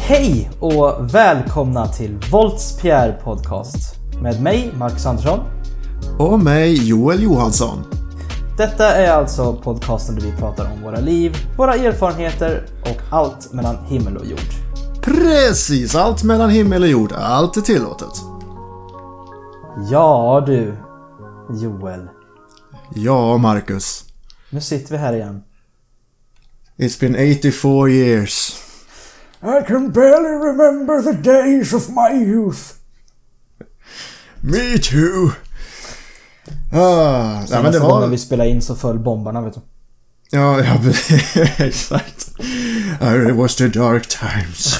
Hej och välkomna till Volts PR Podcast med mig Marcus Andersson. Och mig Joel Johansson. Detta är alltså podcasten där vi pratar om våra liv, våra erfarenheter och allt mellan himmel och jord. Precis, allt mellan himmel och jord, allt är tillåtet. Ja du, Joel. Ja, Marcus. Nu sitter vi här igen. It's been 84 years. I can barely remember the days of my youth. Me too! Ah, nej, men det När var... vi spelade in så föll bombarna vet du. Ja, ja exakt. Ah, It was the dark times.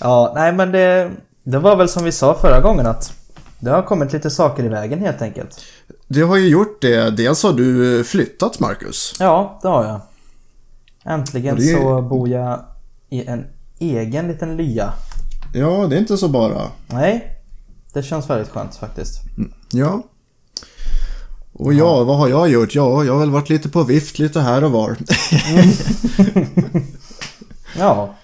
Ja, nej men det, det var väl som vi sa förra gången att det har kommit lite saker i vägen helt enkelt. Du har ju gjort det. Dels har du eh, flyttat, Marcus. Ja, det har jag. Äntligen Och det är- så bor jag i en egen liten lya. Ja, det är inte så bara. Nej, det känns väldigt skönt faktiskt. Ja. Och ja, vad har jag gjort? Ja, jag har väl varit lite på vift lite här och var. Ja,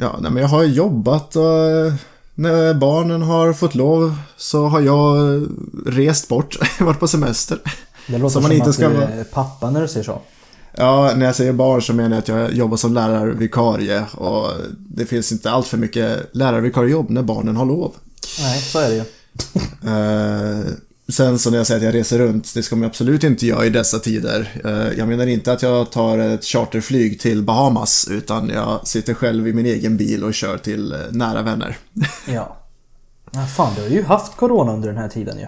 Ja, nej, men jag har jobbat och eh, när barnen har fått lov så har jag eh, rest bort, varit på semester. det låter som, Som man inte att ska du vara- är pappa när du säger så. Ja, när jag säger barn så menar jag att jag jobbar som lärarvikarie och det finns inte allt för mycket lärarvikariejobb när barnen har lov. Nej, så är det ju. Eh, sen så när jag säger att jag reser runt, det ska man absolut inte göra i dessa tider. Eh, jag menar inte att jag tar ett charterflyg till Bahamas utan jag sitter själv i min egen bil och kör till eh, nära vänner. Ja. ja. Fan, du har ju haft corona under den här tiden ju.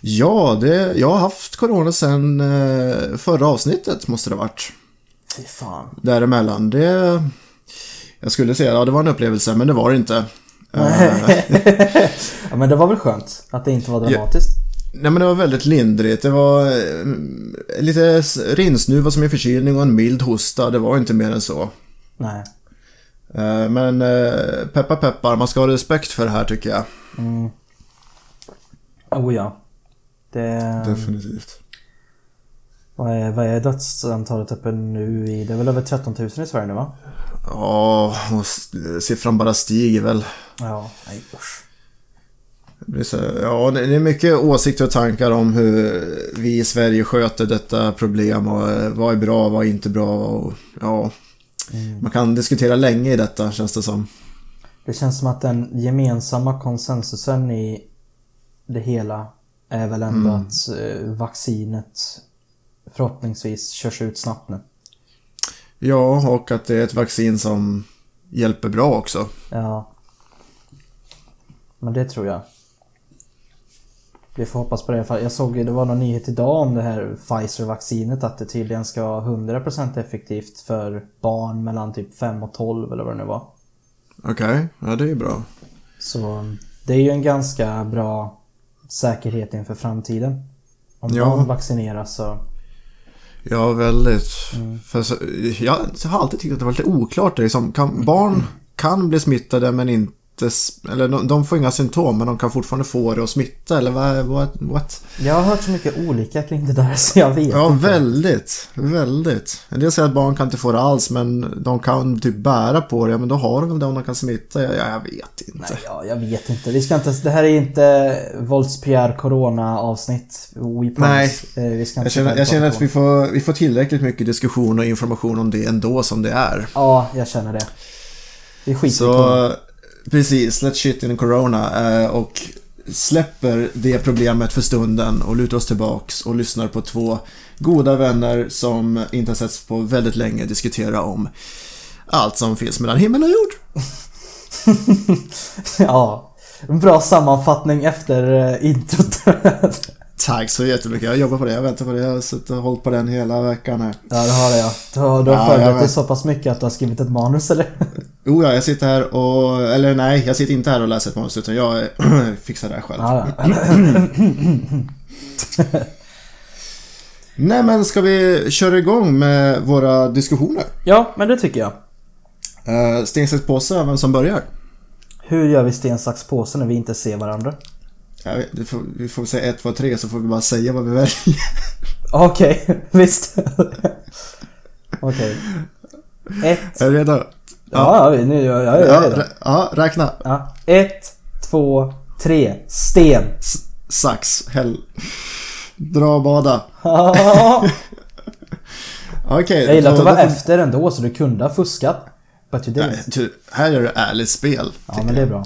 Ja, det, jag har haft corona sedan eh, förra avsnittet måste det ha varit. Fy fan. Däremellan. Det, jag skulle säga att ja, det var en upplevelse, men det var det inte. Eh, Ja, men det var väl skönt att det inte var dramatiskt. Nej men det var väldigt lindrigt. Det var eh, lite s- rinsnuva som en förkylning och en mild hosta. Det var inte mer än så. Nej. Eh, Men eh, peppar peppar, man ska ha respekt för det här tycker jag. Oh ja. Det... Definitivt. Vad är, vad är dödsantalet uppe nu i... Det är väl över 13 000 i Sverige nu va? Ja, och s- siffran bara stiger väl. Ja. Nej usch. Det är så- Ja, det det är mycket åsikter och tankar om hur vi i Sverige sköter detta problem och eh, vad är bra, vad är inte bra och ja. Man kan diskutera länge i detta känns det som. Det känns som att den gemensamma konsensusen i det hela är väl ändå att eh, vaccinet förhoppningsvis körs ut snabbt nu. Ja, och att det är ett vaccin som hjälper bra också. Ja. Men det tror jag. Vi får hoppas på det i alla fall. Jag såg ju- det var någon nyhet idag om det här Pfizer-vaccinet att det tydligen ska vara 100% effektivt för barn mellan typ 5 och 12 eller vad det nu var. Okej, ja det är ju bra. Så det är ju en ganska bra säkerhet inför framtiden. Om Ja. barn vaccineras så... Ja, väldigt. För så, jag har alltid tyckt att det var lite oklart. Det, liksom, kan, barn kan bli smittade men inte... s- Eller de, de får inga symptom men de kan fortfarande få det och smitta eller vad? what, what? Jag har hört så mycket olika kring det där så jag vet. Ja, väldigt. Väldigt. En del säger att barn kan inte få det alls men de kan typ bära på det. Ja, men då har de väl det om de kan smitta. Ja, jag vet inte. Nej, ja, jag vet inte. Vi ska inte... Det här är inte Volts PR Corona avsnitt. We promise. Eh, Vi ska inte Jag känner, sitta jag och känner prata att vi får, vi får tillräckligt mycket diskussion och information om det ändå som det är. Ja, jag känner det. Vi skiter i corona. Så precis, let's shit in corona eh, och släpper det problemet för stunden och lutar oss tillbaks och lyssnar på två goda vänner som inte har setts på väldigt länge diskutera om allt som finns mellan himmel och jord. ja. En bra sammanfattning efter eh, introt. Tack så jättemycket, jag jobbar på det, jag väntar på det, jag har suttit och hållit på den hela veckan här. ja, det har jag. Du har, du har Ja, jag förberett dig vet. så pass mycket att du har skrivit ett manus eller? Oh ja, jag sitter här och, eller nej, jag sitter inte här och läser ett manus utan jag eh, fixar det här själv. Ja, ja. Nej men ska vi köra igång med våra diskussioner? ja, men det tycker jag. Uh, Sten, sax, påse, vem som börjar? Hur gör vi sten, sax, påse när vi inte ser varandra? Ja, vi- vi, får, vi får säga 1, 2, 3 så får vi bara säga vad vi väljer. Okej, visst. Okej. Ett, Är du redo? Ja, ja, nu gör jag, jag, jag, Ja, jag det. rä- ja räkna. Ja. Ett, två, tre. Sten. S- sax, häll. Dra och bada. Okej. jag gillar att då- du var då får- efter ändå så du kunde ha fuskat. But you Nej, didn't. ty- Här är det ärligt spel. Ja, tycker men Mm. det jag. är bra.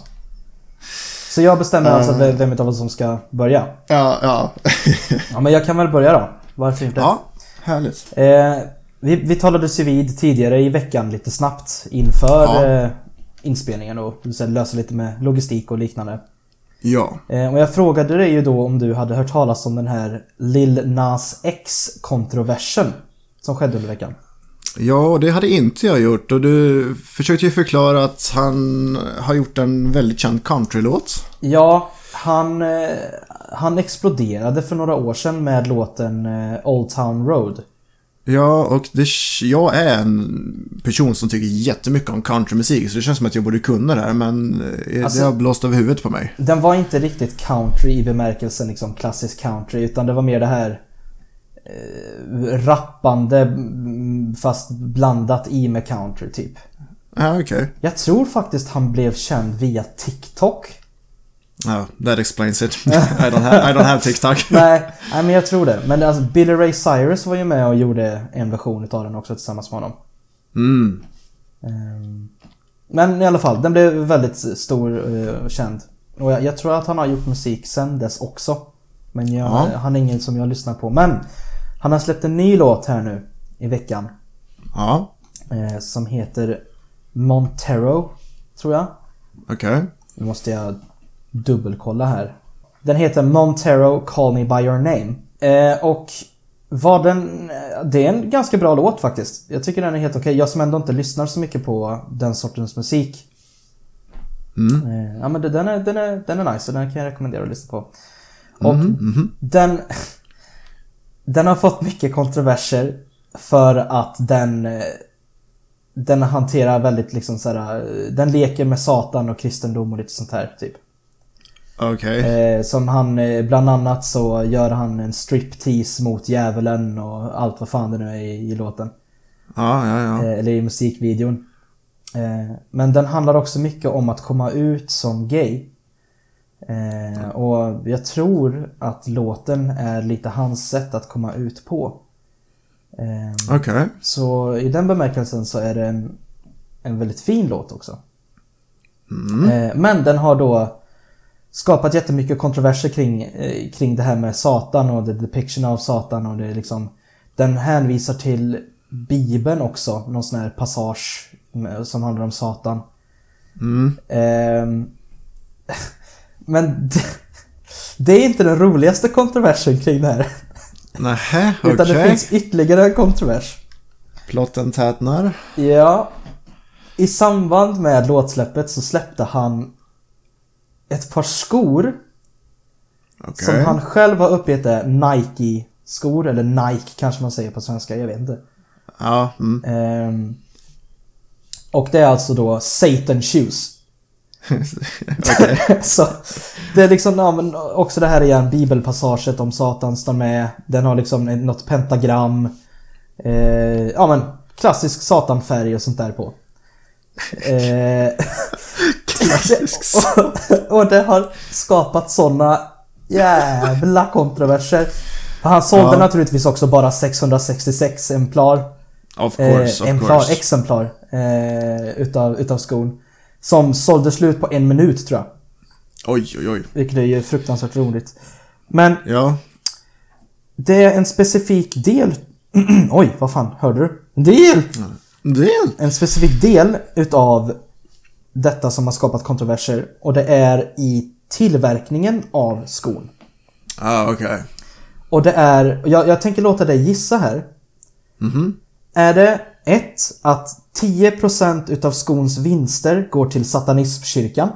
Så jag bestämmer alltså vem vem utav oss som ska börja. Ja, ja. Ja, men jag kan väl börja då. Varför inte? ja, härligt. Eh, vi, vi talades ju vid tidigare i veckan lite snabbt inför Ja. eh, inspelningen och sen lösa lite med logistik och liknande. Ja. Eh, och jag frågade dig ju då om du hade hört talas om den här Lil Nas X-kontroversen som skedde under veckan. Ja, och det hade inte jag gjort. Och du försökte ju förklara att han har gjort en väldigt känd countrylåt. Ja, han, eh, han exploderade för några år sedan med låten eh, Old Town Road. Ja, och det, jag är en person som tycker jättemycket om countrymusik så det känns som att jag borde kunna det här men eh, Alltså- det har blåst över huvudet på mig. Den var inte riktigt country i bemärkelsen liksom klassisk country utan det var mer det här eh, rappande mm, fast blandat i med country typ. Ja, okej. Jag tror faktiskt han blev känd via TikTok. Ja, that explains it. I don't have, I don't have TikTok. Nej, nej men jag tror det. Men alltså, Billy Ray Cyrus var ju med och gjorde en version utav den också tillsammans med honom. Mm. Ehm, Men i alla fall, den blev väldigt stor eh, och känd. Och jag, jag tror att han har gjort musik sen dess också. Men jag, Ja. han är ingen som jag lyssnar på. Men han har släppt en ny låt här nu i veckan. Ja, eh, Som heter Montero, tror jag. okej. Nu måste jag dubbelkolla här. Den heter Montero Call Me By Your Name. Eh, och var den... eh, Det är en ganska bra låt faktiskt. Jag tycker den är helt okej. Jag som ändå inte lyssnar så mycket på den sortens musik. Mm. Eh, ja men det, den, är, den, är, den är nice och den kan jag rekommendera att lyssna på. Och den... Den har fått mycket kontroverser för att den... eh, Den hanterar väldigt liksom så här, eh, Den leker med Satan och kristendom och lite sånt här typ. Okej. Eh, som han, eh, bland annat så gör han en striptease mot djävulen och allt vad fan det nu är i, i låten. Ja, ja, ja. Eh, eller i musikvideon. Eh, men den handlar också mycket om att komma ut som gay. Eh, och jag tror att låten är lite hans sätt att komma ut på. Eh, Okej. så i den bemärkelsen så är det en, en väldigt fin låt också. Mm. Eh, Men den har då skapat jättemycket kontroverser kring, eh, kring det här med Satan och the depiction av Satan och det är liksom Den hänvisar till Bibeln också, någon sån här passage med- som handlar om Satan. Mm. Ehm, Men det, det är inte den roligaste kontroversen kring det här. Nähä, okej. Utan det finns ytterligare en kontrovers. Plotten tätnar. Ja. I samband med låtsläppet så släppte han ett par skor Okej. som han själv har uppgett är Nike-skor, eller Nike kanske man säger på svenska, jag vet inte. Ja, mm. Ehm, och det är alltså då Satan Shoes. så det är liksom, ja, men också det här igen, bibelpassaget om Satan står med. Den har liksom något pentagram. Eh, ja men, klassisk Satanfärg och sånt där på. Eh, Klassisk och, och det har skapat såna jävla kontroverser. Han sålde Ja. naturligtvis också bara 666 exemplar. Of course, eh, of exemplar, course. exemplar eh, utav, utav skon. Som sålde slut på en minut tror jag. Oj, oj, oj. Vilket är ju fruktansvärt roligt. Men Ja. det är en specifik del... Oj, vad fan, hörde du? En del! Del. En specifik del utav detta som har skapat kontroverser. Och det är i tillverkningen av skon. Ja, Ah, okej. Och det är... Jag, jag tänker låta dig gissa här. Mhm. Är det ett Att 10% utav skons vinster går till satanismkyrkan.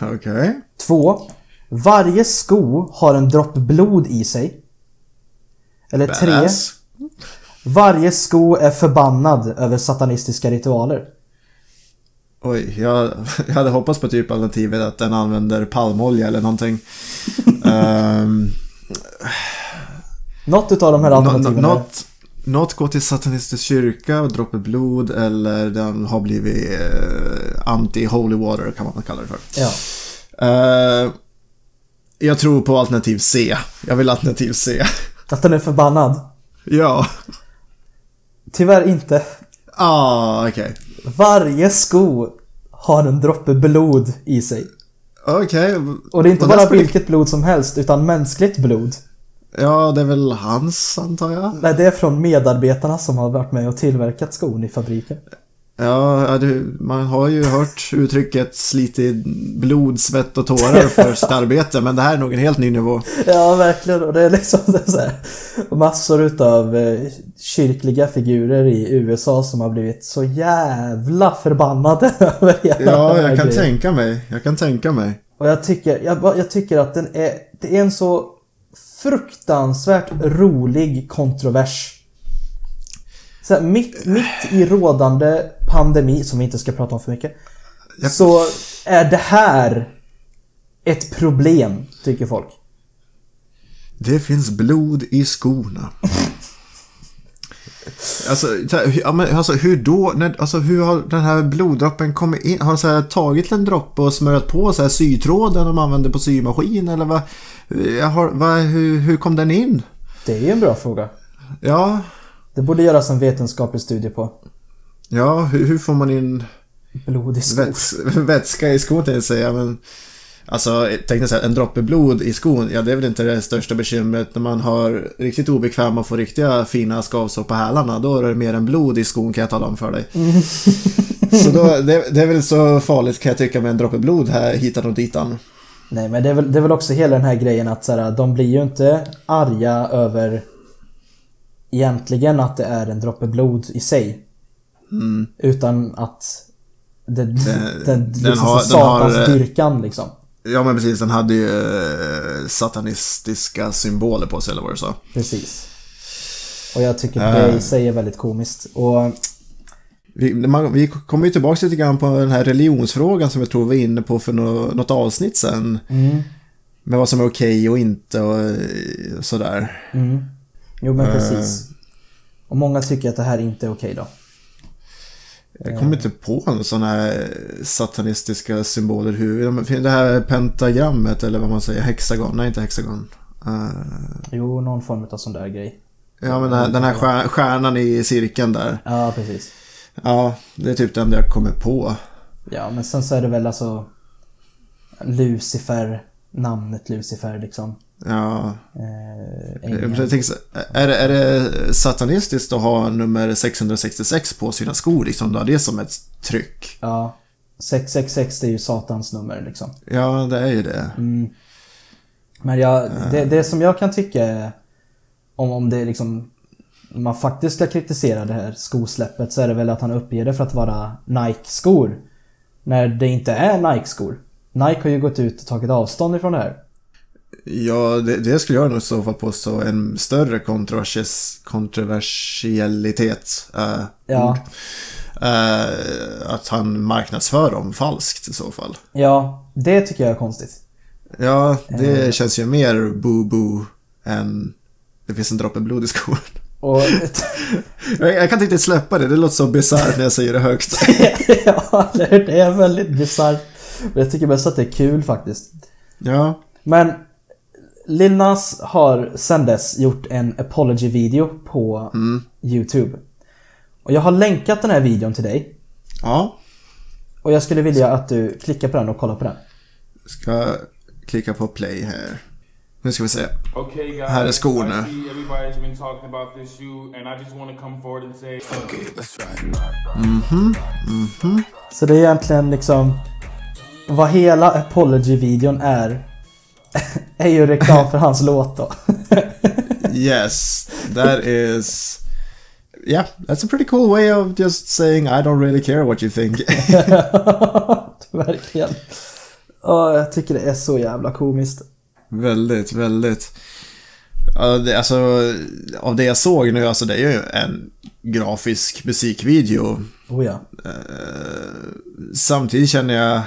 Okej. 2. Varje sko har en dropp blod i sig. Eller 3. Badass. Varje sko är förbannad över satanistiska ritualer. Oj, jag, jag hade hoppats på typ alternativet att den använder palmolja eller någonting. Ehm, Något utav de här nå- nå- alternativen. är- Något Något går till satanistisk kyrka och droppar blod eller den har blivit eh, anti-holy water kan man kalla det för. Ja. Eh, jag tror på alternativ C. Jag vill alternativ C. Att den är förbannad. ja. Tyvärr inte. Ah, okej. Varje sko har en droppe blod i sig. Okej. Och det är inte Och bara där skulle- vilket blod som helst, utan mänskligt blod. Ja, det är väl hans antar jag. Nej, det är från medarbetarna som har varit med och tillverkat skon i fabriken. Ja, ja, du, man har ju hört uttrycket slitit blod, svett och tårar för sitt arbete, men det här är nog en helt ny nivå. Ja, verkligen. Och det är liksom det är så här, massor utav eh, kyrkliga figurer i USA som har blivit så jävla förbannade över hela Ja, den här jag kan grejen. tänka mig. Jag kan tänka mig. Och jag tycker, jag, bara- jag tycker att den är, det är en så fruktansvärt rolig kontrovers. Så här, mitt, mitt i rådande pandemi, som vi inte ska prata om för mycket, Japp. så är det här ett problem, tycker folk. Det finns blod i skorna. Alltså, så här, hur- ja, men, alltså hur då? När, alltså hur har den här bloddroppen kommit in? Har de så här, tagit en droppe och smörjat på så här, sytråden de använder på symaskin eller vad? Jag har, vad hur, hur kom den in? Det är ju en bra fråga. Ja, Det borde göras en vetenskaplig studie på. ja hur, hur får man in Blod i skor. väts, vätska i skon tänkte jag säga. Men, alltså, tänkte säga en droppe blod i skon, ja det är väl inte det största bekymret. När man har riktigt obekväma och får riktiga fina skavsår på hälarna, då är det mer än blod i skon kan jag tala om för dig. så då, det, det är väl så farligt kan jag tycka med en droppe blod här hitan och ditan. Nej men det är, väl, det är väl också hela den här grejen att så här, de blir ju inte arga över egentligen att det är en droppe blod i sig. Utan att det, den, den, liksom Mm. den har- så den har, satans eh, dyrkan liksom. Ja men precis, den hade ju eh, satanistiska symboler på sig eller vad du sa. Precis. Och jag tycker Eh. det i sig är väldigt komiskt. Och Vi, man, vi kommer ju tillbaka lite grann på den här religionsfrågan som jag tror vi var inne på för nå- något avsnitt sen. Med vad som är okej och inte och eh, sådär. jo Eh. men precis. Och många tycker att det här inte är okej då. Jag kommer inte på några sådana här satanistiska symboler i huvudet. Det här pentagrammet eller vad man säger, hexagon, nej inte hexagon. Eh, Jo, någon form av sån där grej. ja men den här, den här stjär- stjärnan i cirkeln där. Ja, precis. Ja, det är typ det enda jag kommer på. Ja, men sen så är det väl alltså Lucifer, namnet Lucifer liksom. Ja, Eh, Jag ängeln. tänker så här, är, det, är det satanistiskt att ha nummer 666 på sina skor? Liksom, då? Det är som ett tryck. Ja. 666 det är ju satans nummer liksom. Ja, det är ju det. Men jag, det, det som jag kan tycka är- om, om det är liksom om man faktiskt ska kritisera det här skosläppet så är det väl att han uppger det för att vara Nike-skor. När det inte är Nike-skor. Nike har ju gått ut och tagit avstånd ifrån det här. Ja, det, det skulle jag nog i så fall påstå. En större kontroversis, kontroversiellitet. eh, Ja, eh, att han marknadsför dem falskt i så fall. ja det tycker jag är konstigt. Ja, det känns ju mer boo-boo än det finns en droppe blod i skon. Och, Jag, jag kan inte riktigt släppa det, det låter så bisarrt när jag säger det högt. ja, eller hur? det är väldigt bisarrt. Men Jag tycker mest att det är kul faktiskt. Ja, Men Lil Nas har sen dess gjort en apology-video på YouTube. Och jag har länkat den här videon till dig. ja. Och jag skulle vilja att du klickar på den och kollar på den. Ska klicka på play här. Nu ska vi se. Okay, guys. Här är skon nu. I see everybody's been talking about this shoe, and I just want to come forward and say, Så det är egentligen liksom... Vad hela apology-videon är. är ju reklam för hans låt då. Yes, that is... Yeah, that's a pretty cool way of just saying I don't really care what you think. Verkligen. Ja, jag tycker det är så jävla komiskt. väldigt, väldigt. Ja, det- Alltså, av det jag såg nu, alltså det är ju en grafisk musikvideo. Oh ja. Samtidigt känner jag,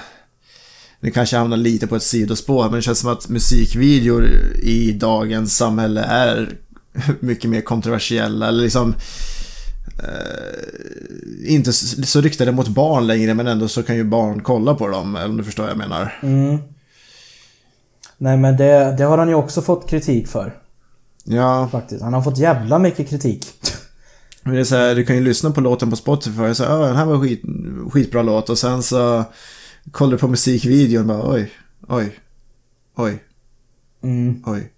nu kanske jag hamnar lite på ett sidospår, men det känns som att musikvideor i dagens samhälle är mycket mer kontroversiella eller liksom eh, inte så så riktade mot barn längre men ändå så kan ju barn kolla på dem om du förstår vad jag menar. Mm. Nej men det, det har han ju också fått kritik för. Ja, Faktiskt. Han har fått jävla mycket kritik. men det är så här, du kan ju lyssna på låten på Spotify och säga att den här var skit, skitbra låt och sen så kollar du på musikvideon och bara oj, oj, oj, Mm. oj.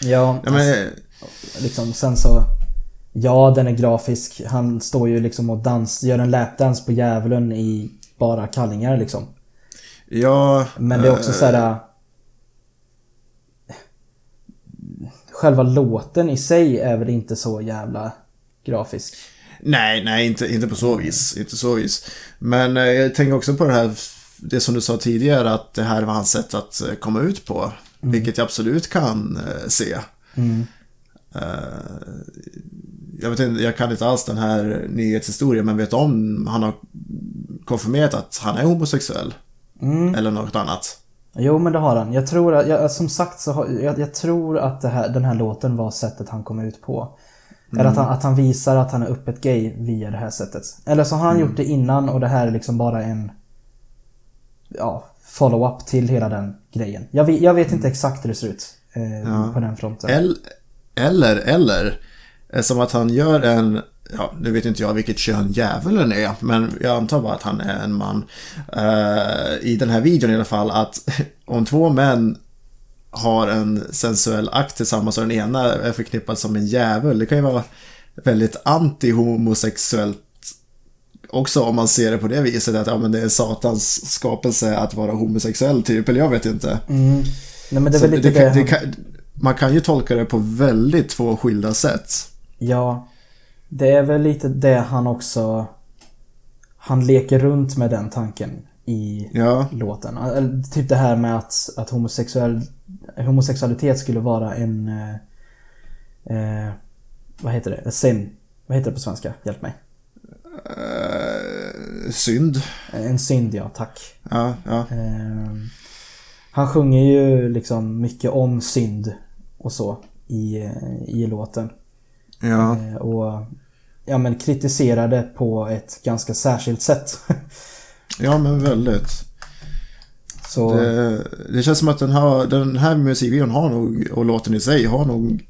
Ja, Ja, men, liksom sen så... Ja, den är grafisk. Han står ju liksom och dans, gör en lapdance på djävulen i bara kallingar liksom. ja, Men det är också eh, så här. äh, Själva låten i sig är väl inte så jävla grafisk. Nej, nej, inte, inte på så vis. Inte så vis. Men eh, jag tänker också på det här, det som du sa tidigare, att det här var hans sätt att eh, komma ut på. Vilket jag absolut kan eh, se. Eh, jag, vet inte, jag kan inte alls den här nyhetshistorien, men vet om han har konfirmerat att han är homosexuell. Eller något annat. Jo men det har han. Jag tror att, jag, som sagt så har, jag, jag tror att det här, den här låten var sättet han kom ut på. Eller att han, att han visar att han är öppet gay via det här sättet. Eller så har han gjort det innan och det här är liksom bara en ja, follow-up till hela den grejen. Jag, vet- jag vet inte exakt hur det ser ut Mm. eh, på den fronten. Eller, eller, eller. eh, Som att han gör en, ja nu vet inte jag vilket kön djävulen är, men jag antar bara att han är en man. Eh, I den här videon i alla fall, att om två män har en sensuell akt tillsammans och den ena är förknippad som en djävul, det kan ju vara väldigt anti-homosexuellt också om man ser det på det viset att ja, men det är satans skapelse att vara homosexuell typ, eller jag vet inte. Mm. Nej men det är Så väl lite det det, kan, det han- kan, man kan ju tolka det på väldigt två skilda sätt. Ja. Det är väl lite det han också... Han leker runt med den tanken i Ja, låten. Eller, typ det här med att, att homosexuell, homosexualitet skulle vara en... eh, Eh, vad heter det? A sin. Vad heter det på svenska? Hjälp mig. eh, synd. En synd ja, tack. Ja, ja. Ehm, han sjunger ju liksom mycket om synd och så i, eh, i låten. ja. Eh, Och ja, men kritiserade på ett ganska särskilt sätt. ja men väldigt. Så Det, det känns som att den här, den här musikvideon har nog, och låten i sig, har nog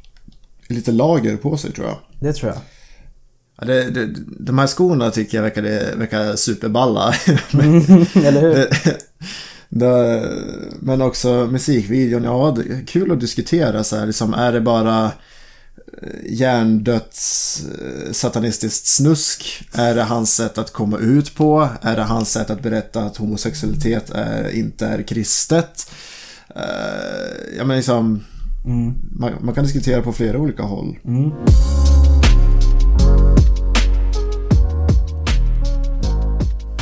lite lager på sig tror jag. det tror jag. Ja, det, det, de här skorna tycker jag verkar, verkar superballa. Eller hur? Det, det, men också musikvideon, ja det är kul att diskutera så här, liksom, är det bara eh, hjärndöds eh, satanistiskt snusk? Är det hans sätt att komma ut på? Är det hans sätt att berätta att homosexualitet är, inte är kristet? Eh, ja men liksom, Mm. man, man kan diskutera på flera olika håll. Mm.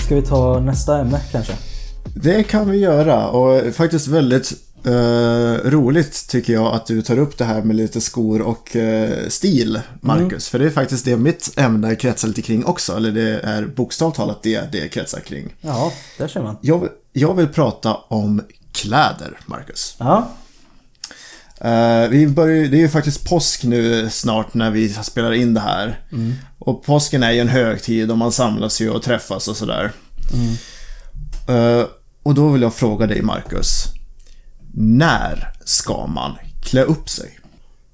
Ska vi ta nästa ämne kanske? Det kan vi göra och faktiskt väldigt eh, roligt tycker jag att du tar upp det här med lite skor och eh, stil, Marcus. För det är faktiskt det mitt ämne kretsar lite kring också, eller det är bokstavligt talat det det kretsar kring. Ja, där ser man. Jag, jag vill prata om kläder, Marcus. Ja, Eh, vi börjar, det är ju faktiskt påsk nu snart när vi spelar in det här. Och påsken är ju en högtid och man samlas ju och träffas och sådär. Eh, och då vill jag fråga dig Marcus. När ska man klä upp sig?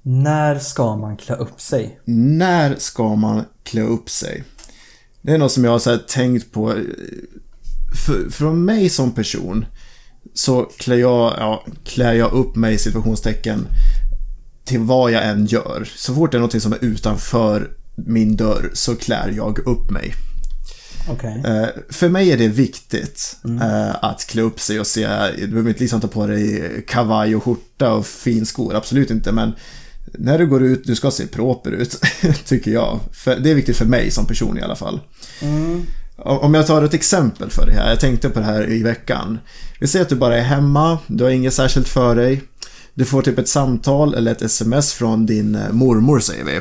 när ska man klä upp sig? När ska man klä upp sig? Det är något som jag har så här tänkt på. För, för mig som person så klär jag, ja, klär jag upp mig i situationstecken till vad jag än gör. Så fort det är något som är utanför min dörr så klär jag upp mig. Okej. Eh, för mig är det viktigt eh, att klä upp sig och se, du behöver inte liksom ta på dig kavaj och skjorta och finskor, absolut inte, men när du går ut, du ska se proper ut, tycker jag. För, det är viktigt för mig som person i alla fall. Mm. Om om jag tar ett exempel för det här, jag tänkte på det här i veckan. Vi säger att du bara är hemma, du har inget särskilt för dig. Du får typ ett samtal eller ett sms från din eh, mormor säger vi.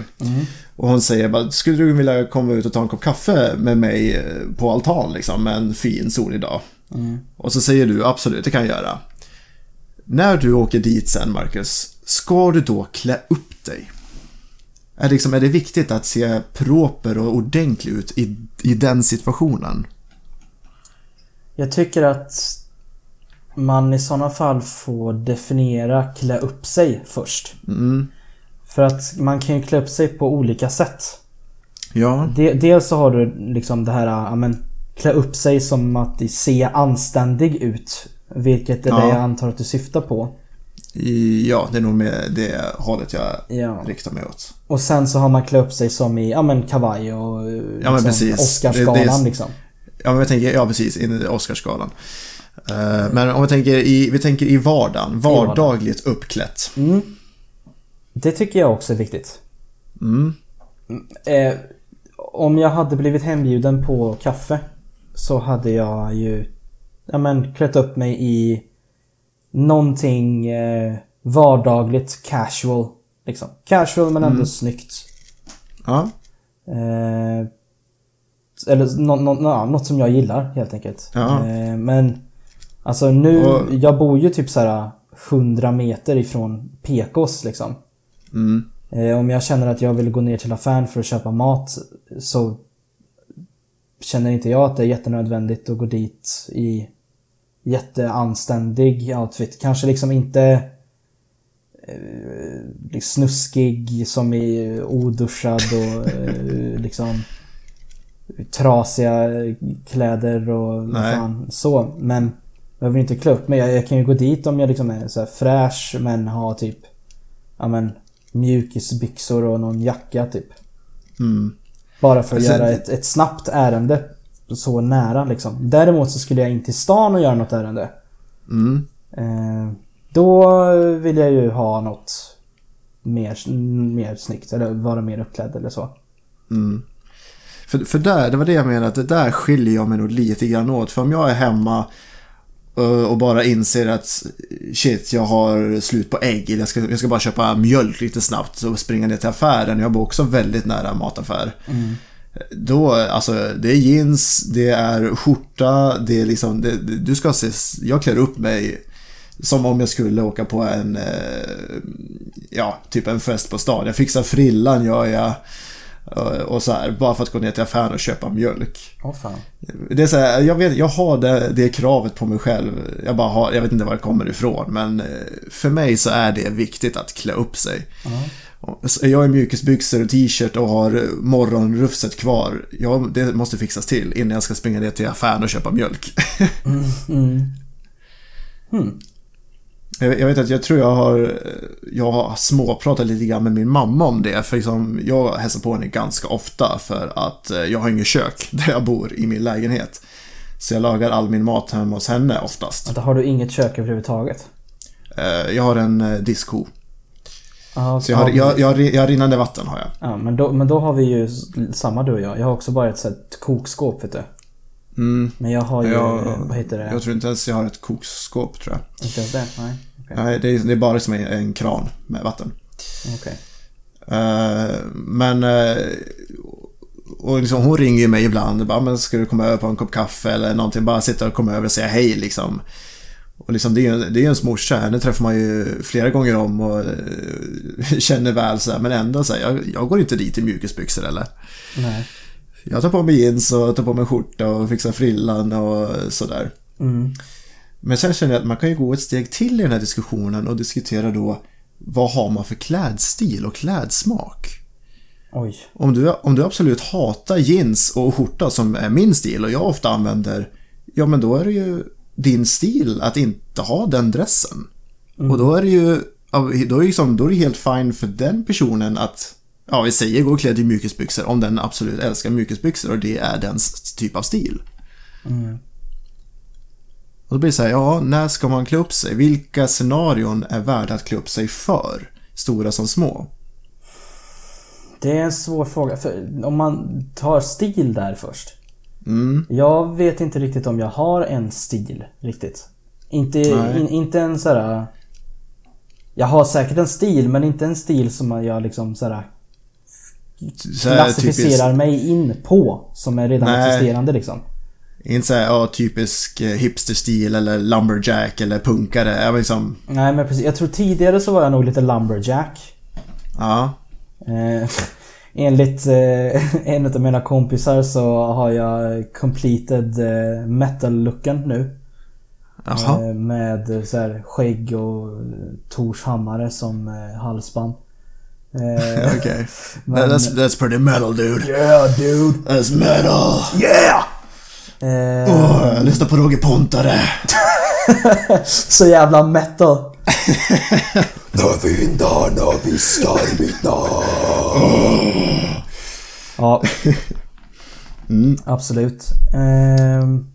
Och hon säger bara, skulle du vilja komma ut och ta en kopp kaffe med mig eh, på altan liksom, en fin solig dag? Och så säger du, absolut det kan jag göra. När du åker dit sen Marcus, ska du då klä upp dig? Är, liksom, är det viktigt att se proper och ordentlig ut i, i den situationen? Jag tycker att man i sådana fall får definiera klä upp sig först. Mm. För att man kan ju klä upp sig på olika sätt. Ja. De, dels så har du liksom det här, ja men klä upp sig som att se anständig ut. Vilket är Ja. det jag antar att du syftar på. I, ja, det är nog med det hållet jag Ja. riktar mig åt. Och sen så har man klä upp sig som i, ja men kavaj och eh, liksom, precis. Oscarsgalan Det- det är- liksom. Ja, men jag tänker, ja precis, in i Oscarsgalan. Eh, men om vi tänker i, vi tänker i vardagen, vardagen. vardagligt uppklätt. Mm. Det tycker jag också är viktigt. Mm. Eh, om jag hade blivit hembjuden på kaffe så hade jag ju ja, men, klätt upp mig i någonting eh, vardagligt casual. Liksom. Casual men ändå snyggt. Ja, Eh, eller nå- nå- nå- ja, något som jag gillar helt enkelt. Ja. Eh, men alltså nu, Och- jag bor ju typ så här 100 meter ifrån PKs liksom. mm. Eh, Om jag känner att jag vill gå ner till affären för att köpa mat så känner inte jag att det är jättenödvändigt att gå dit i jätteanständig outfit. Kanske liksom inte eh, liksom snuskig som är oduschad och eh, liksom trasiga kläder och vad Nej. fan så. Men jag vill inte klä upp mig. Jag, jag kan ju gå dit om jag liksom är så här fräsch men har typ ja, men, mjukisbyxor och någon jacka typ. Mm. Bara för att Sen- göra ett, ett snabbt ärende så nära liksom. Däremot så skulle jag in till stan och göra något ärende. Mm. Eh, då vill jag ju ha något mer, mer snyggt eller vara mer uppklädd eller så. Mm. För, för där, det var det jag menade, att det där skiljer jag mig nog lite grann åt. För om jag är hemma eh, och bara inser att shit, jag har slut på ägg. eller Jag ska, jag ska bara köpa mjölk lite snabbt och springa ner till affären. Jag bor också väldigt nära en mataffär. Då, alltså det är jeans, det är skjorta, det är liksom, det, det- du ska se, jag klär upp mig som om jag skulle åka på en, eh, ja, typ en fest på stan. Jag fixar frillan gör jag. eh, Och så här, bara för att gå ner till affären och köpa mjölk. Åh fan. Det är så här, jag, vet, jag har det, det kravet på mig själv. Jag, bara har, jag vet inte var det kommer ifrån, men eh, för mig så är det viktigt att klä upp sig. Och- så Jag har mjukisbyxor och t-shirt och har eh, morgonrufset kvar. Jag, det måste fixas till innan jag ska springa ner till affären och köpa mjölk. Mm. Jag jag vet att jag tror jag har, jag har småpratat lite grann med min mamma om det. För liksom, jag hälsar på henne ganska ofta för att eh, jag har inget kök där jag bor i min lägenhet. Så jag lagar all min mat hemma hos henne oftast. Att Har du inget kök överhuvudtaget? Eh, Jag har en eh, diskho. Ja, Så jag har, ja, jag, jag, har ri- jag har rinnande vatten har jag. ja, men, då, men då har vi ju s- samma du och jag. Jag har också bara ett, så här, ett kokskåp vet du. Mm. Men jag har ju, Jag- Eh, vad heter det? Jag tror inte ens jag har ett kokskåp tror jag. Inte ens det? Nej. Okej. Nej, det är, det är bara som en, en kran med vatten. Okej. Eh, men eh, och liksom, hon ringer ju mig ibland. Bara, men ska du komma över på en kopp kaffe eller någonting? Bara sitta och komma över och säga hej liksom. Och liksom, det är ju det är ju ens morsa. Henne träffar man ju flera gånger om och eh, känner väl så här. Men ändå så här, jag, jag går inte dit i mjukisbyxor eller. Nej. Jag tar på mig jeans och tar på mig skjorta och fixar frillan och sådär. Mm. Men sen känner jag att man kan ju gå ett steg till i den här diskussionen och diskutera då vad har man för klädstil och klädsmak? Oj. Om du, om du absolut hatar jeans och skjorta som är min stil och jag ofta använder, ja men då är det ju din stil att inte ha den dressen. Och då är det ju ja, då är det, liksom, då är det helt fine för den personen att, ja vi säger gå klädd i mjukisbyxor om den absolut älskar mjukisbyxor och det är dens typ av stil. Och då blir det så här, ja när ska man klä upp sig? Vilka scenarion är värda att klä upp sig för? Stora som små. Det är en svår fråga. För om man tar stil där först. Mm, Jag vet inte riktigt om jag har en stil riktigt. Inte, Nej. in, inte en så här. Jag har säkert en stil men inte en stil som jag liksom så här, så här typiskt- klassificerar mig in på. Som är redan Nej. existerande liksom. Inte såhär ja, typisk eh, hipsterstil eller lumberjack eller punkare. Ja, men liksom, Nej men precis. Jag tror tidigare så var jag nog lite lumberjack. ja. Eh, enligt eh, en av mina kompisar så har jag completed eh, metal-looken nu. Jaha. Eh, Med så här skägg och Tors hammare som eh, halsband. Eh, Okej. That- That's, that's pretty metal dude. yeah dude! That's metal! Yeah! Eh, Åh, jag lyssnar på Roger Pontare. Så jävla metal. När vindarna viskar mitt namn. Ja. Mm. Absolut. Ehm,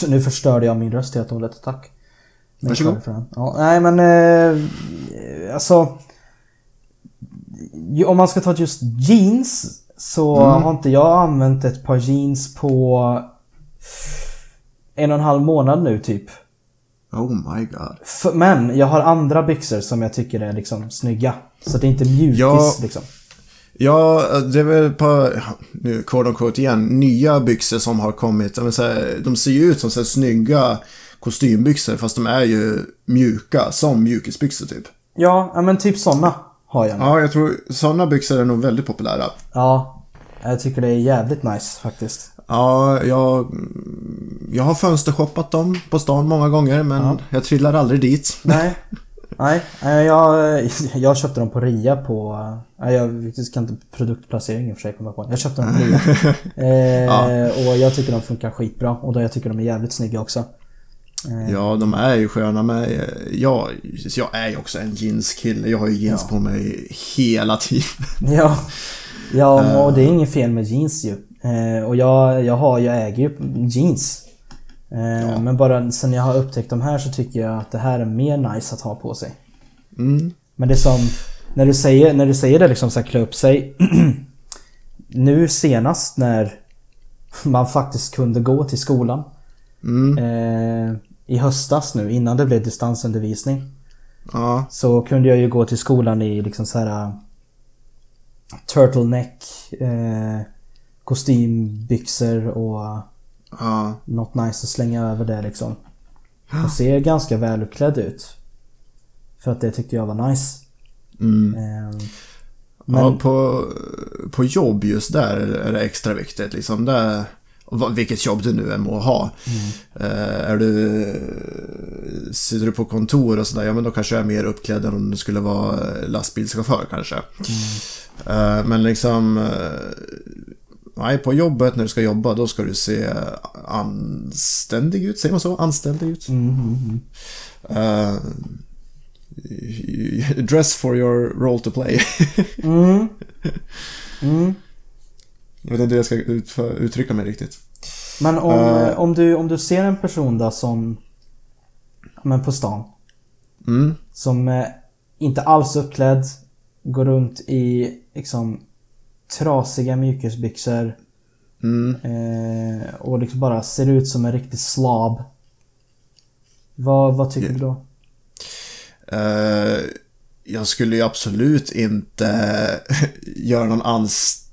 t- nu förstörde jag min röst helt och hållet. Tack. Men Varsågod. sorry för den. Ja, nej men eh, alltså. ju- Om man ska ta just jeans. Så Mm. har inte jag använt ett par jeans på en och en halv månad nu typ. Oh my god. F- Men jag har andra byxor som jag tycker är liksom snygga. Så det är inte mjukis Ja. liksom. Ja, eh, det är väl ett par, nu quote on quote igen, nya byxor som har kommit. Jag menar, så här, de ser ju ut som så här, snygga kostymbyxor fast de är ju mjuka, som mjukisbyxor typ. Ja, ja, men typ såna har jag nu. Ja, jag tror sådana byxor är nog väldigt populära. Ja, jag tycker det är jävligt nice faktiskt. Ja, jag, jag har fönstershoppat dem på stan många gånger men jag trillar aldrig dit. Nej. Nej, eh, jag, jag köpte dem på rea på... eh, Nej, jag kan inte produktplacering i och för sig komma på. Jag köpte dem på rea. Eh, Och jag tycker de funkar skitbra. Och då jag tycker de är jävligt snygga också. Ja, de är ju sköna men eh, jag, jag är ju också en jeanskille. Jag har ju jeans på mig hela tiden. Ja, ja och det är inget fel med jeans ju. Eh, och jag, jag, har, jag äger ju jeans. Eh, Men bara sen jag har upptäckt de här så tycker jag att det här är mer nice att ha på sig. Men det är som, när du säger, när du säger det liksom så här klä upp sig. nu senast när man faktiskt kunde gå till skolan. Eh, I höstas nu innan det blev distansundervisning. Ja, Så kunde jag ju gå till skolan i liksom så här äh, Turtleneck eh, Kostymbyxor och äh, ja. något nice att slänga över det liksom. Och se ganska välutklädd ut. För att det tyckte jag var nice. Ehm, Ja, på, på jobb just där är det extra viktigt. Liksom där, vad- vilket jobb du nu än må ha. Eh, är du, sitter du på kontor och sådär, ja men då kanske jag är mer uppklädd än om du skulle vara eh, lastbilschaufför kanske. Eh, men liksom, eh, nej på jobbet när du ska jobba då ska du se anständig ut, säger man så? Anständig ut? Eh, dress for your role to play. Jag vet inte hur jag ska utfö- uttrycka mig riktigt. Men om, eh, om, du, om du ser en person då som Men på stan Mm. Som eh, inte alls uppklädd Går runt i liksom Trasiga mjukisbyxor Mm. eh, Och liksom bara ser ut som en riktig slab Vad, vad tycker du då? Eh, jag skulle ju absolut inte göra någon ans-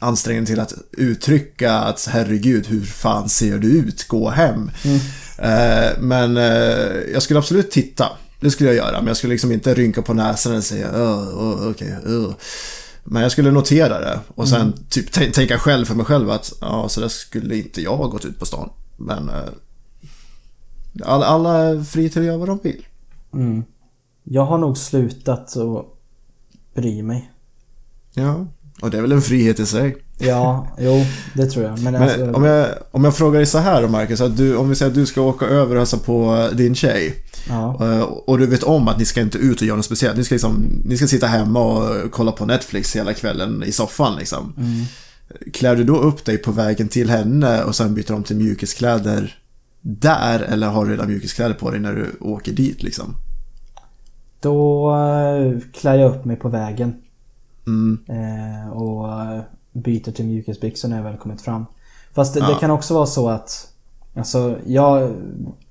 ansträngning till att uttrycka att herregud, hur fan ser du ut? Gå hem. Eh, men eh, jag skulle absolut titta. Det skulle jag göra, men jag skulle liksom inte rynka på näsan eller säga "Åh, åh, okej, åh." Men jag skulle notera det och sen typ t- tänka själv för mig själv att ja, så där skulle inte jag ha gått ut på stan. Men eh, alla, alla är fria till att göra vad de vill. Jag har nog slutat att bry mig Ja, och det är väl en frihet i sig. Ja, jo det tror jag Men, alltså, Men om jag, om jag frågar dig så här då Marcus, att du, om vi säger att du ska åka över och hälsa på din tjej. ja, eh, Och du vet om att ni ska inte ut och göra något speciellt. Ni ska, liksom, ni ska sitta hemma och kolla på Netflix hela kvällen i soffan liksom. Klär du då upp dig på vägen till henne och sen byter om till mjukiskläder där? Eller har du redan mjukiskläder på dig när du åker dit liksom? Då eh, klär jag upp mig på vägen Mm. Eh, och eh, byter till mjukisbyxor när jag väl kommit fram. Fast det, det kan också vara så att... Alltså, jag...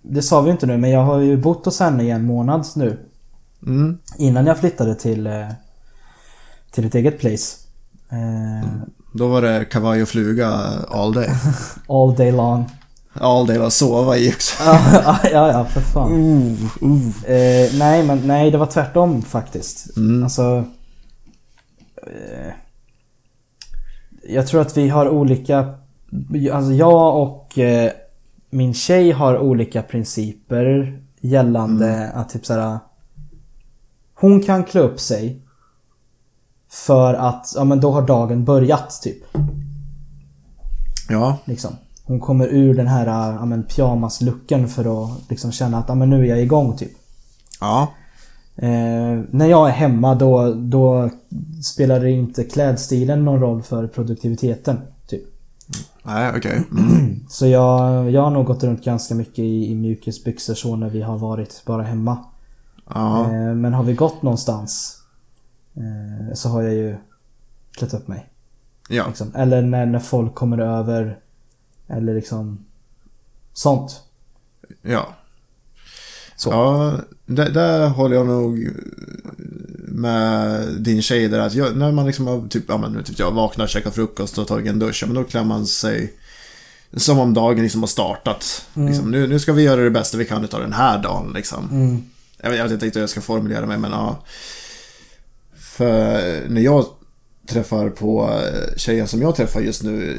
Det sa vi ju inte nu, men jag har ju bott hos henne i en månad nu. Mm. Innan jag flyttade till... eh, Till ett eget place. Eh, Då var det kavaj och fluga all day. All day long. All day var sova i också. ja, ja, för fan. Uh, uh. Eh, nej, men nej, det var tvärtom faktiskt. Alltså, eh, Jag tror att vi har olika... Alltså jag och eh, min tjej har olika principer gällande att typ såhär... Hon kan klä upp sig. För att, ja men då har dagen börjat typ. Ja, Liksom. Hon kommer ur den här äh, ja, men, pyjamasluckan för att liksom, känna att ja, men, nu är jag igång typ. ja, Eh, när jag är hemma då, då spelar det inte klädstilen någon roll för produktiviteten. Typ. nej okej. Mm. Så jag, jag har nog gått runt ganska mycket i, i mjukisbyxor så när vi har varit bara hemma. Ja, Eh, men har vi gått någonstans eh, så har jag ju klätt upp mig. ja, Liksom. Eller när, när folk kommer över. Eller liksom sånt. ja. Så. Ja, där, där håller jag nog med din tjej där att jag, när man liksom har typ, ja men typ jag vaknar, käkar frukost och tagit en dusch, ja, men då klär man sig som om dagen liksom har startat. Liksom, nu, nu ska vi göra det bästa vi kan utav den här dagen liksom. Jag, vet- jag vet inte riktigt hur jag ska formulera mig men ja. För när jag träffar på eh, tjejen som jag träffar just nu.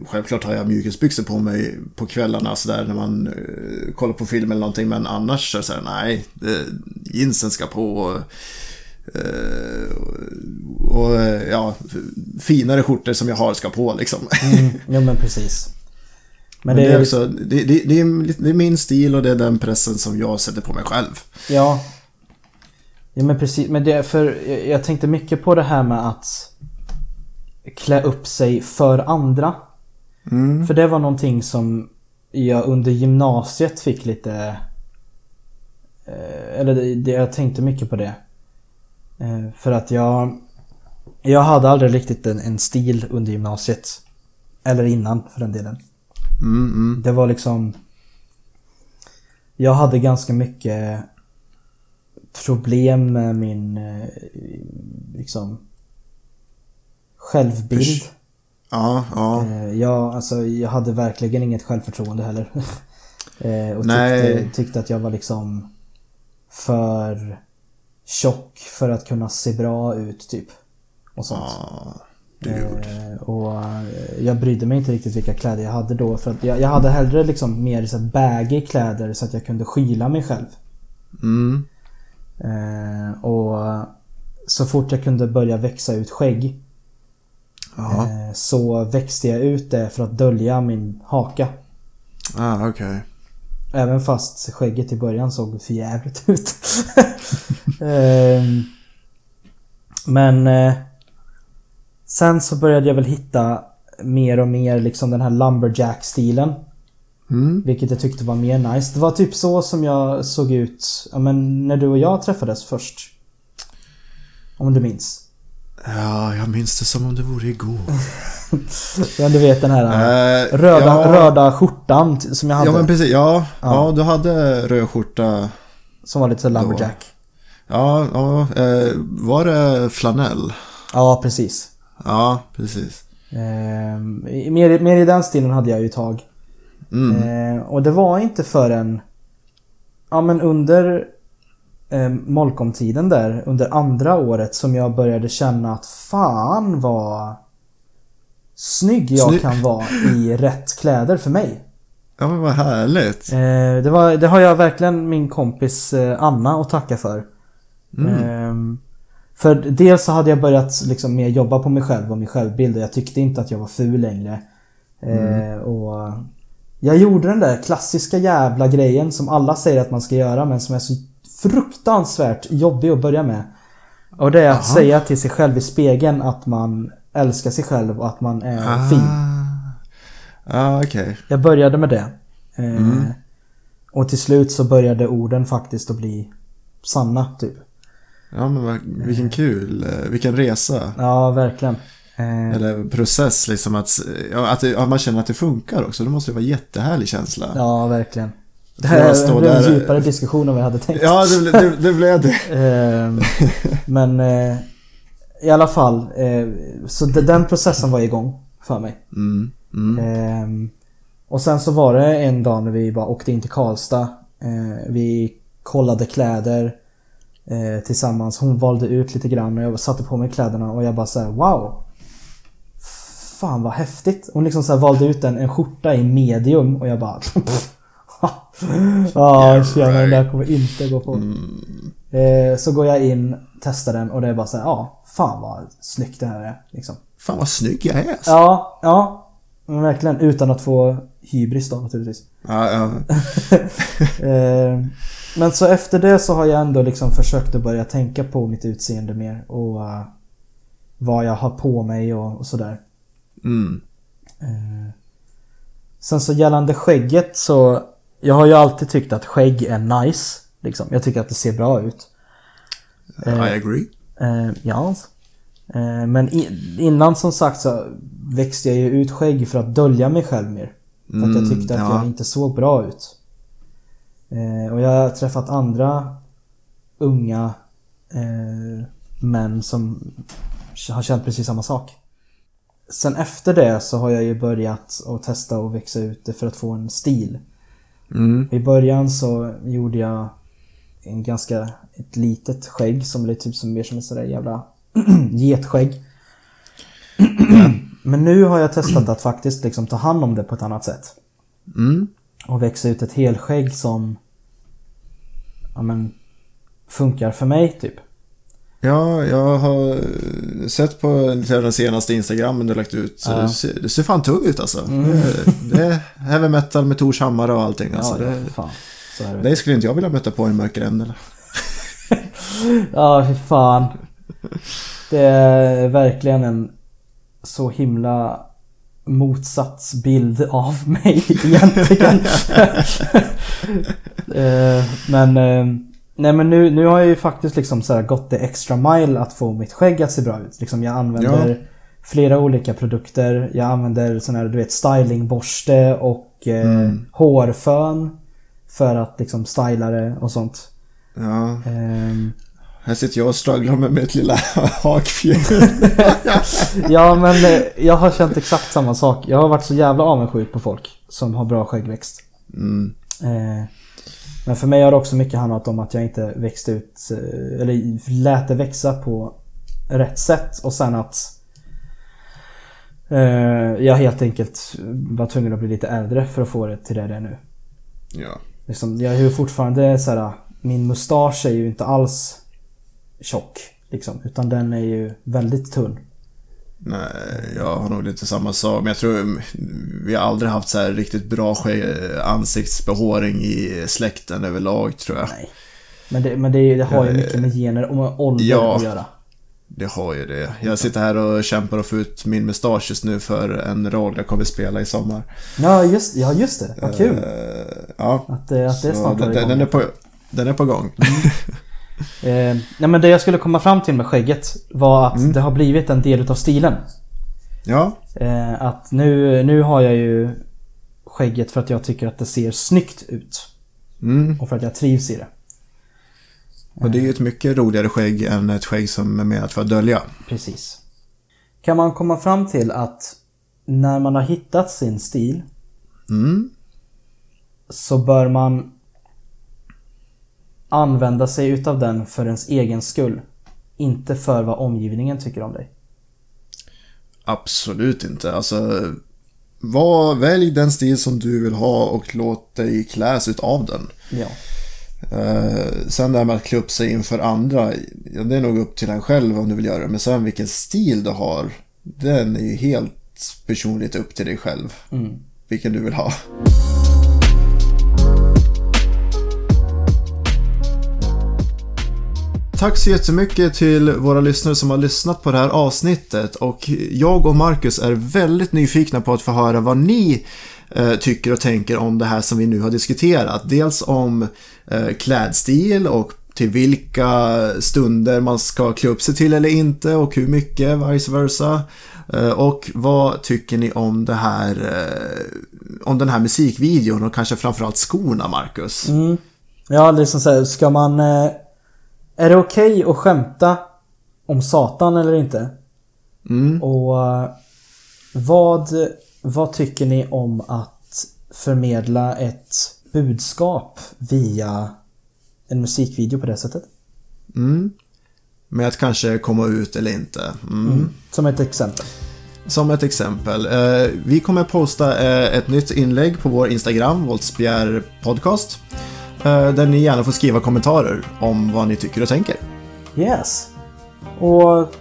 eh, Självklart har jag mjukisbyxor på mig på kvällarna sådär när man eh, kollar på film eller någonting. Men annars så är det såhär, nej. eh, Jeansen ska på. Och, eh, och eh, ja, finare skjortor som jag har ska på liksom. Mm. Jo men precis. Men, Men det, är ju- också, det, det, det, är, lite- det är min stil och det är den pressen som jag sätter på mig själv. Ja. Ja men precis. Men det, för jag- jag tänkte mycket på det här med att klä upp sig för andra. Mm. För det var någonting som jag under gymnasiet fick lite... eh, Eller det, det, jag tänkte mycket på det. Eh, För att jag... Jag hade aldrig riktigt en, en stil under gymnasiet. Eller innan för den delen. Mm, mm. Det var liksom... Jag hade ganska mycket problem med min eh, liksom självbild. Usch. Ja, ja. Eh, Jag, alltså, jag hade verkligen inget självförtroende heller. Eh, och tyckte, Nej. tyckte att jag var liksom för tjock för att kunna se bra ut typ. Och sånt. Ja, dude. Eh, Och eh, jag brydde mig inte riktigt vilka kläder jag hade då. För att jag, jag hade hellre liksom mer så här baggy kläder så att jag kunde skyla mig själv. Mm. Eh, och så fort jag kunde börja växa ut skägg Ja, eh, så växte jag ut det för att dölja min haka. ah, okej. Även fast skägget i början såg för jävligt ut. Ehm, Men eh, sen så började jag väl hitta mer och mer liksom den här Lumberjack-stilen. Mm. Vilket jag tyckte var mer nice. Det var typ så som jag såg ut ja, men när du och jag träffades först. Om du minns. Ja, jag minns det som om det vore igår. Ja, du vet den här Eh, röda, ja, röda skjortan t- som jag hade. Ja, men precis. Ja, ja. du hade röd skjorta. Som var lite så Lumberjack. Ja, ja eh, var det flanell? Ja, precis. Ja, precis. Ehm, i- mer, mer i den stilen hade jag ju ett tag. Mm. Ehm, och det var inte förrän... Ja men under eh, Molkom-tiden där, under andra året som jag började känna att fan vad snygg jag Snygg. kan vara i rätt kläder för mig. Ja, men vad härligt. Eh, det, var, det har jag verkligen min kompis eh, Anna att tacka för. Eh, för dels så hade jag börjat liksom mer jobba på mig själv och min självbild och jag tyckte inte att jag var ful längre. Eh, och jag gjorde den där klassiska jävla grejen som alla säger att man ska göra men som är så fruktansvärt jobbig att börja med. Och det är att säga till sig själv i spegeln att man älskar sig själv och att man är Ah. fin. Ja, ah, okej. Jag började med det. Eh, Mm. Och till slut så började orden faktiskt att bli sanna, typ. Ja, men vad, vilken kul. eh, Vilken resa. Ja, verkligen. Eh, Eller process liksom att, ja, att, det, ja, man känner att det funkar också. Det måste ju vara en jättehärlig känsla. Ja, ja, verkligen. Det Får jag här stå blev en där? djupare diskussion än vad jag hade tänkt. det, ble- det, det blev det. Ehm, men eh, i alla fall. Eh, så de, den processen var igång för mig. Mm, mm. Ehm, och sen så var det en dag när vi bara åkte in till Karlstad. Eh, vi kollade Ehm, kläder. eh, tillsammans. Hon valde ut lite grann och jag satte på mig kläderna och jag bara såhär wow. Fan vad häftigt. Hon liksom så här valde ut en, en skjorta i medium och jag bara Ja, jag känner den där kommer inte gå på. Eh, så går jag in, testar den och det är bara så här, ja, fan vad snyggt det här är. Liksom. Fan vad snygg jag är. alltså. Ja, ja. men Verkligen. Utan att få hybris då naturligtvis. Ja, ja. Eh, men så efter det så har jag ändå liksom försökt att börja tänka på mitt utseende mer och eh, vad jag har på mig och, och sådär. Eh, Mm. Sen så gällande skägget så Jag har ju alltid tyckt att skägg är nice. Liksom. Jag tycker att det ser bra ut. I agree. Eh, ja. Eh, men i, innan som sagt så växte jag ju ut skägg för att dölja mig själv mer. För att jag Mm, tyckte att ja. jag inte såg bra ut. Eh, och jag har träffat andra unga eh, män som har känt precis samma sak. Sen efter det så har jag ju börjat att testa och växa ut det för att få en stil. Mm. I början så gjorde jag en ganska, ett litet skägg som blev typ som mer som ett sådär jävla getskägg. Men nu har jag testat att faktiskt liksom ta hand om det på ett annat sätt. Mm. Och växa ut ett helskägg som ja, men, funkar för mig typ. Ja, jag har eh, sett på lite av den senaste Instagrammen du lagt ut. Så Ja. det, ser, det ser fan tung ut alltså. Det, det är heavy metal med Tors hammare och allting. Alltså. Ja, ja, det, för fan. Så är det. det skulle inte jag vilja möta på i mörkret eller? Ja, fy fan. Det är verkligen en så himla motsatsbild av mig egentligen. Eh, men eh, nej men nu, nu har jag ju faktiskt liksom så här gått det extra mile att få mitt skägg att se bra ut. Liksom jag använder Ja. flera olika produkter. Jag använder sån här du vet stylingborste och eh, hårfön. För att liksom styla det och sånt. Ja, Ehm, här sitter jag och strugglar med mitt lilla hakfjäll. Ja men eh, jag har känt exakt samma sak. Jag har varit så jävla avundsjuk på folk som har bra skäggväxt. Mm. Eh, Men för mig har det också mycket handlat om att jag inte växte ut eh, eller lät det växa på rätt sätt och sen att eh, jag helt enkelt var tvungen att bli lite äldre för att få det till det det är nu. Ja. Liksom, jag är ju fortfarande så här, min mustasch är ju inte alls tjock. Liksom, utan den är ju väldigt tunn. Nej, jag har nog lite samma sak. Men jag tror mm, vi har aldrig haft så här riktigt bra ske- ansiktsbehåring i släkten överlag tror jag. Nej. Men det, men det, det har ju mycket med gener och med ålder Eh, ja. att göra. Det har ju det. Jag sitter här och kämpar och får ut min mustasch just nu för en roll jag kommer spela i sommar. Ja just, ja, just det. Vad kul. Eh, ja. att, eh, att det Så snart Mm. den, är igång. den, är på, den är på gång. Eh, nej, men Det jag skulle komma fram till med skägget var att Mm. det har blivit en del utav stilen. Ja, Eh, att nu, nu har jag ju skägget för att jag tycker att det ser snyggt ut. mm. Och för att jag trivs i det. och Eh. det är ju ett mycket roligare skägg än ett skägg som är menat för att dölja. Precis. Kan man komma fram till att när man har hittat sin stil Mm. så bör man använda sig utav den för ens egen skull. Inte för vad omgivningen tycker om dig. Absolut inte. Alltså, var, välj den stil som du vill ha och låt dig kläs utav den. Ja. Eh, sen det här med att klä upp sig inför andra, ja, det är nog upp till en själv om du vill göra det. Men sen vilken stil du har, den är ju helt personligt upp till dig själv. Vilken du vill ha. Tack så jättemycket till våra lyssnare som har lyssnat på det här avsnittet och jag och Marcus är väldigt nyfikna på att få höra vad ni eh, tycker och tänker om det här som vi nu har diskuterat. Dels om eh, klädstil och till vilka stunder man ska klä upp sig till eller inte och hur mycket, vice versa. Eh, Och vad tycker ni om det här eh, om den här musikvideon och kanske framförallt skorna, Marcus? Ja, liksom så här, ska man... eh, Är det okej att skämta om Satan eller inte? Och eh, vad, vad tycker ni om att förmedla ett budskap via en musikvideo på det sättet? Mm. Med att kanske komma ut eller inte. Mm. Som ett exempel. Som ett exempel. Eh, vi kommer posta eh, ett nytt inlägg på vår Instagram, Voltsbjer Podcast. Eh, där ni gärna får skriva kommentarer om vad ni tycker och tänker. Yes. Och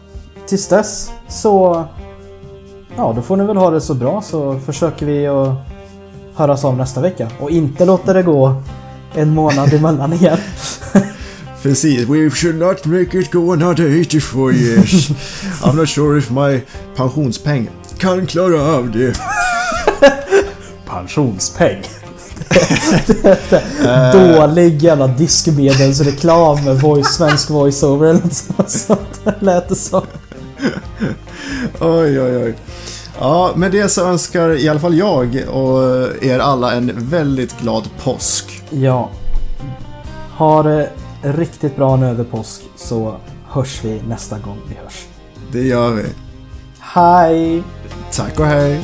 tills dess så... Ja, då får ni väl ha det så bra så försöker vi att höras om nästa vecka. Och inte låta det gå en månad emellan igen. Precis. We should not make it go another 84 years. I'm not sure if my pensionspeng kan klara av det. Pensionspeng. Dålig jävla diskmedelsreklam med voice, svensk voiceover eller något sånt- sånt. Lät det som. Oj, oj, oj. Ja, med det så önskar i alla fall jag och er alla en väldigt glad påsk. Ja. Ha det riktigt bra nu över påsk så hörs vi nästa gång vi hörs. Det gör vi. Hej! Tack och hej!